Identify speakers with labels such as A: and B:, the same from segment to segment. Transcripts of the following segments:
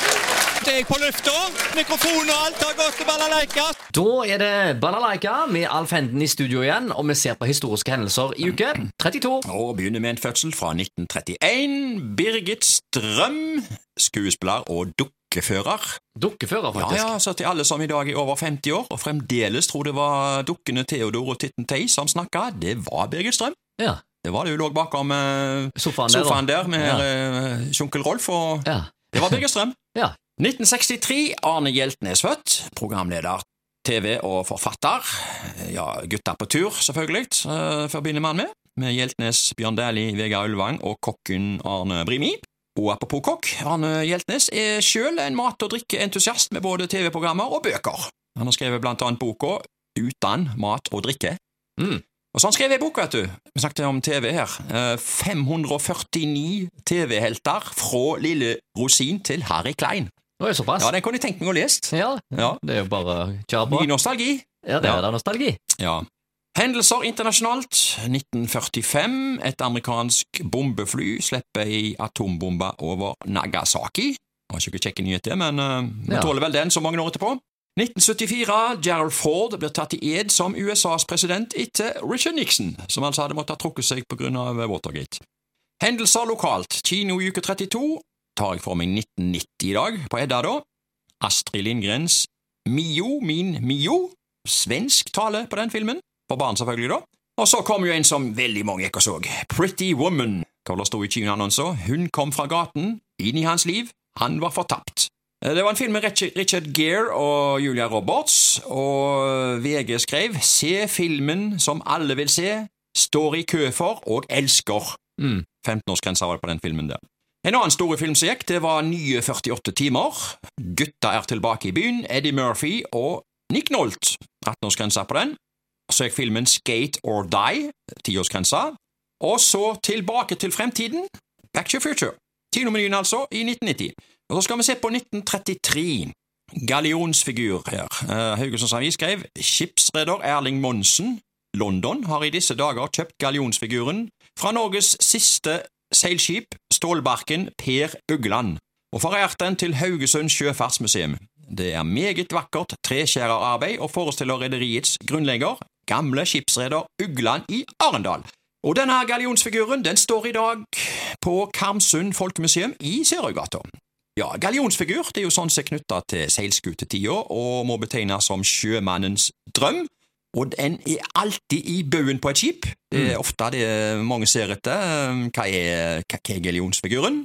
A: Snart er jeg på lufta. Mikrofon og alt har gått til balalaika.
B: Da er det Balalaika med Alf Henden i studio igjen, og vi ser på historiske hendelser i uke 32.
A: Og begynner med en fødsel fra 1931. Birgit Strøm, skuespiller og dukkefører.
B: Dukkefører,
A: Ja,
B: faktisk.
A: ja, så til alle som i dag er over 50 år og fremdeles tror det var dukkene Theodor og Titten Tei som snakka, det var Birgit Strøm.
B: Ja.
A: Det var det hun lå bakom eh,
B: Sofaen der.
A: sofaen
B: da.
A: der med
B: Ja.
A: eh, Sjunkel Rolf, og
B: Ja.
A: det var Birgit Strøm.
B: Ja.
A: 1963, Arne Hjeltnes født, programleder, TV og forfatter. Ja, Gutta på tur, selvfølgelig, eh, forbinder man med. Med Hjeltnes, Bjørn Dæhlie, Vegard Ulvang og kokken Arne Brimi. Og apropos kokk, Arne Hjeltnes er sjøl en mat- og drikkeentusiast med både TV-programmer og bøker. Han har skrevet blant annet boka Utan mat og drikke.
B: Mm.
A: Og sånn skrev jeg bok, vet du. Vi snakket om TV her. Eh, 549 TV-helter fra Lille Rosin til Harry Klein.
B: Nå er det såpass.
A: Ja, den kunne jeg tenkt meg å lese.
B: Ja,
A: Ja.
B: det er jo bare å kjøre på.
A: Ny nostalgi.
B: Ja, det
A: Ja.
B: er da nostalgi.
A: Ja. Hendelser internasjonalt. 1945. Et amerikansk bombefly slipper ei atombombe over Nagasaki. Det var ikke kjekke nyheter, men eh, vi
B: Ja.
A: tåler vel den så mange år etterpå. 1974. Gerald Ford blir tatt i ed som USAs president etter Richard Nixon, som altså hadde måttet ha trukket seg på grunn av Watergate. Hendelser lokalt. Kino i uke 32. Tar jeg for meg 1990 i dag, på Edda da. Astrid Lindgrens Mio, min Mio. Svensk tale på den filmen. For barn, selvfølgelig, da. Og så kom jo en som veldig mange ikke så. Pretty Woman. Hva det sto i kinoannonser. Hun kom fra gaten, inn i hans liv. Han var fortapt. Eh, Det var en film med Richard- Richard Gere og Julia Roberts, og VG skrev 'Se filmen som alle vil se, står i kø for og elsker'.
B: Mm.
A: 15-årsgrensa var det på den filmen der. En annen store film som gikk, det var Nye 48 timer. Gutta er tilbake i byen. Eddie Murphy og Nick Nolt. 18-årsgrensa på den. Så gikk filmen Skate or Die. 10-årsgrensa. Og så Tilbake til fremtiden. Back to future. Kinomenyen, altså, i 1990. Og så skal vi se på 1933. Gallionsfigur her. Eh, Haugesunds Avis skrev skipsreder Erling Monsen, London, har i disse dager kjøpt gallionsfiguren fra Norges siste seilskip, stålbarken Per Ugland, og forært den til Haugesund Sjøfartsmuseum. Det er meget vakkert treskjærerarbeid og forestiller rederiets grunnlegger, gamle skipsreder Ugland i Arendal. Og denne gallionsfiguren den står i dag på Karmsund Folkemuseum i Sørøygata. Ja, gallionsfigur det er jo sånn som er knytta til seilskutetida og må betegnes som sjømannens drøm. Og den er alltid i baugen på et skip. Det er ofte det mange ser etter. Hva er, hva er gallionsfiguren?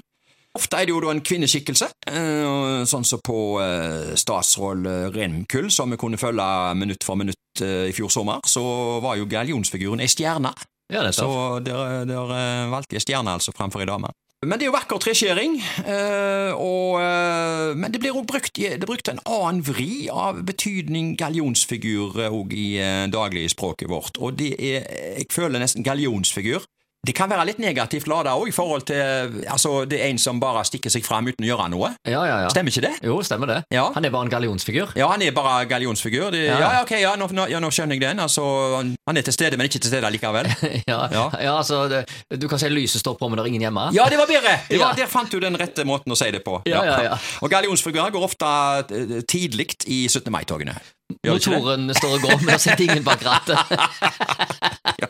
A: Ofte er det jo da en kvinneskikkelse, eh, sånn som på eh, statsråd Remkull, som vi kunne følge minutt for minutt eh, i fjor sommer, så var jo gallionsfiguren ei stjerne.
B: Ja, det er så.
A: Så der, der eh, valgte jeg stjerne altså fremfor ei dame. Men det er jo vakker treskjæring, eh, og, eh, men det blir også brukt, i- det er brukt en annen vri av betydning gallionsfigur eh, også i eh, dagligspråket vårt, og det er, jeg føler nesten gallionsfigur. Det kan være litt negativt lada òg, i forhold til eh, altså, det er en som bare stikker seg fram uten å gjøre noe.
B: Ja, ja, ja.
A: Stemmer ikke det?
B: Jo, stemmer det.
A: Ja.
B: Han er bare en gallionsfigur.
A: Ja, han er bare gallionsfigur. Det, ja.
B: Ja.
A: ja, ok, ja, nå, nå, ja, nå skjønner jeg den. Altså, han- han er til stede, men ikke til stede likevel.
B: Ja, ja.
A: Ja.
B: altså, det, du kan si lyset står på, men det er ingen hjemme.
A: Ja, det var bedre! Det
B: Ja.
A: var, Der fant du den rette måten å si det på.
B: Ja, ja, ja.
A: Og gallionsfigurer går ofte eh, tidlig i 17. mai-togene. Gjør det ikke det?
B: Motoren står og går, men det sitter ingen bak rattet. Ja,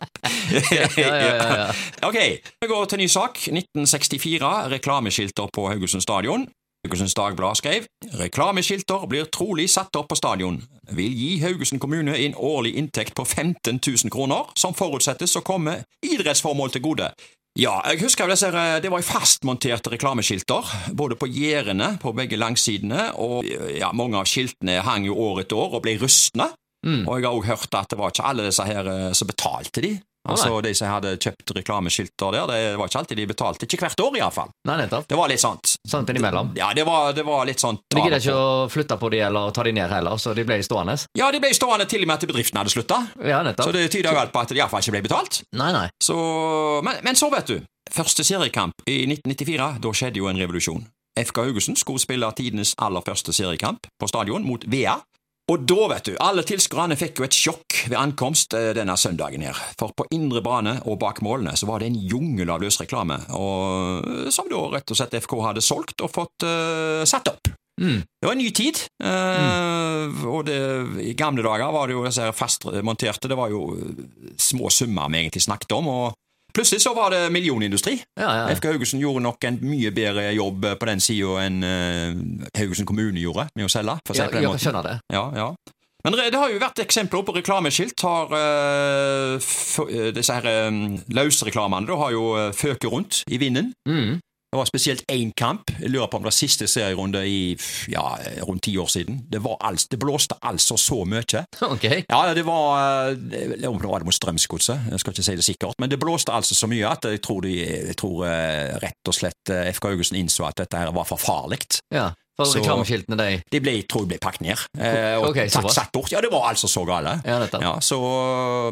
B: ja, ja, ja.
A: Ok, vi går til ny sak. 1964, reklameskilter på Haugesund stadion. Haugesunds Dagblad skrev reklameskilter blir trolig satt opp på stadion. Vil gi Haugesund kommune en årlig inntekt på 15 000 kroner, som forutsettes å komme idrettsformål til gode. Ja, jeg husker jo disse, her, det var jo fastmonterte reklameskilter, både på gjerdene på begge langsidene, og eh, ja, mange av skiltene hang jo år etter år og ble rustne.
B: Mm.
A: Og jeg har også hørt at det var ikke alle disse her eh, som betalte de. Altså de som hadde kjøpt reklameskilter der, det var ikke alltid de betalte. Ikke hvert år iallfall.
B: Nei, nettopp.
A: Det var litt sånt.
B: Sånn innimellom.
A: Ja, det var, det var litt sånt.
B: Du gidder ikke å flytte på de eller ta de ned heller, så de ble stående.
A: Ja, de ble stående til og med til bedriften hadde slutta.
B: Ja,
A: Så
B: nettopp.
A: det tyder jo alt på at de iallfall ikke ble betalt.
B: Nei, nei.
A: Så, men, men så, vet du. Første seriekamp i 1994, da skjedde jo en revolusjon. FK Haugesund skulle spille tidenes aller første seriekamp på stadion mot VEA. Og da, vet du, alle tilskuerne fikk jo et sjokk ved ankomst eh, denne søndagen her. For på indre bane og bak målene så var det en jungel av løs reklame, og, som da rett og slett FK hadde solgt og fått eh, satt opp.
B: Mm.
A: Det var en ny tid. eh, Og det, i gamle dager var det jo disse her fastmonterte, det var jo eh, små summer vi egentlig snakket om. og Plutselig så var det millionindustri.
B: Ja, ja.
A: FK Haugesund gjorde nok en mye bedre jobb på den sida enn eh, Haugesund kommune gjorde med å selge. For å si
B: ja,
A: det på
B: ja,
A: den måten.
B: jeg skjønner det.
A: Ja, ja. Men det har jo vært eksempler på reklameskilt. Har eh, f- eh, disse her um, løsreklamene da, har jo eh, føket rundt i vinden.
B: Mm.
A: Det var spesielt én kamp. Jeg lurer på om det var siste serierunde i f- ja, rundt ti år siden. Det, var altså, det blåste altså så mye.
B: Ok.
A: Ja, ja, det var eh, det- Om det var det mot Strømsgodset, jeg skal ikke si det sikkert. Men det blåste altså så mye at jeg tror, de, jeg tror eh, rett og slett eh, FK Haugesund innså at dette her var for farlig.
B: Ja. For
A: Så-
B: reklameskiltene, de
A: De ble, jeg tror de ble pakket ned eh, og
B: Ok,
A: tatt,
B: såpass.
A: satt bort. Ja, det var altså så gale.
B: Ja, nettopp.
A: Ja, så,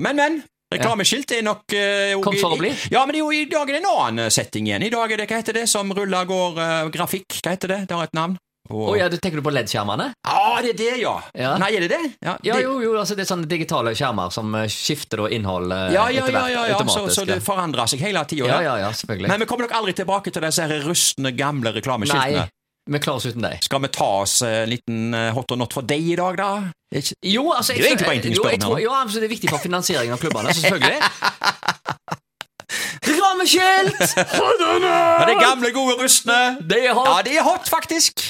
A: men, men. Reklameskilt er nok eh, jo
B: Kom for
A: i-
B: å bli.
A: Ja, men det er jo i dag er det en annen eh, setting igjen. I dag er det hva heter det som ruller går eh, grafikk. Hva heter det? Det har et navn.
B: Å
A: Og-
B: ja, du tenker du på LED-skjermene?
A: Ah, det er det, ja.
B: Ja.
A: Nei, er det det? Ja,
B: Ja,
A: det,
B: jo, jo, altså det er sånne digitale skjermer som eh, skifter da innhold eh,
A: ja, ja,
B: etter
A: ja,
B: hvert
A: ja, ja. Så,
B: automatisk.
A: så det forandrer seg hele tida.
B: ja, ja, ja, selvfølgelig.
A: Men vi kommer nok aldri tilbake til disse her rustne, gamle
B: Nei,
A: reklameskiltene.
B: vi klarer oss uten deg.
A: Skal vi ta oss eh, en liten eh, hot or not for deg i dag, da? Ikke?
B: Jo, altså
A: Det er jo egentlig bare en ting å
B: jo,
A: spørre
B: jeg
A: om her,
B: tror-
A: da.
B: Ja, altså, det er viktig for finansieringen av klubbene, så selvfølgelig. Reklameskilt!
A: Ja, det er gamle, gode rustne.
B: Det er hot!
A: Ja, det er hot, faktisk.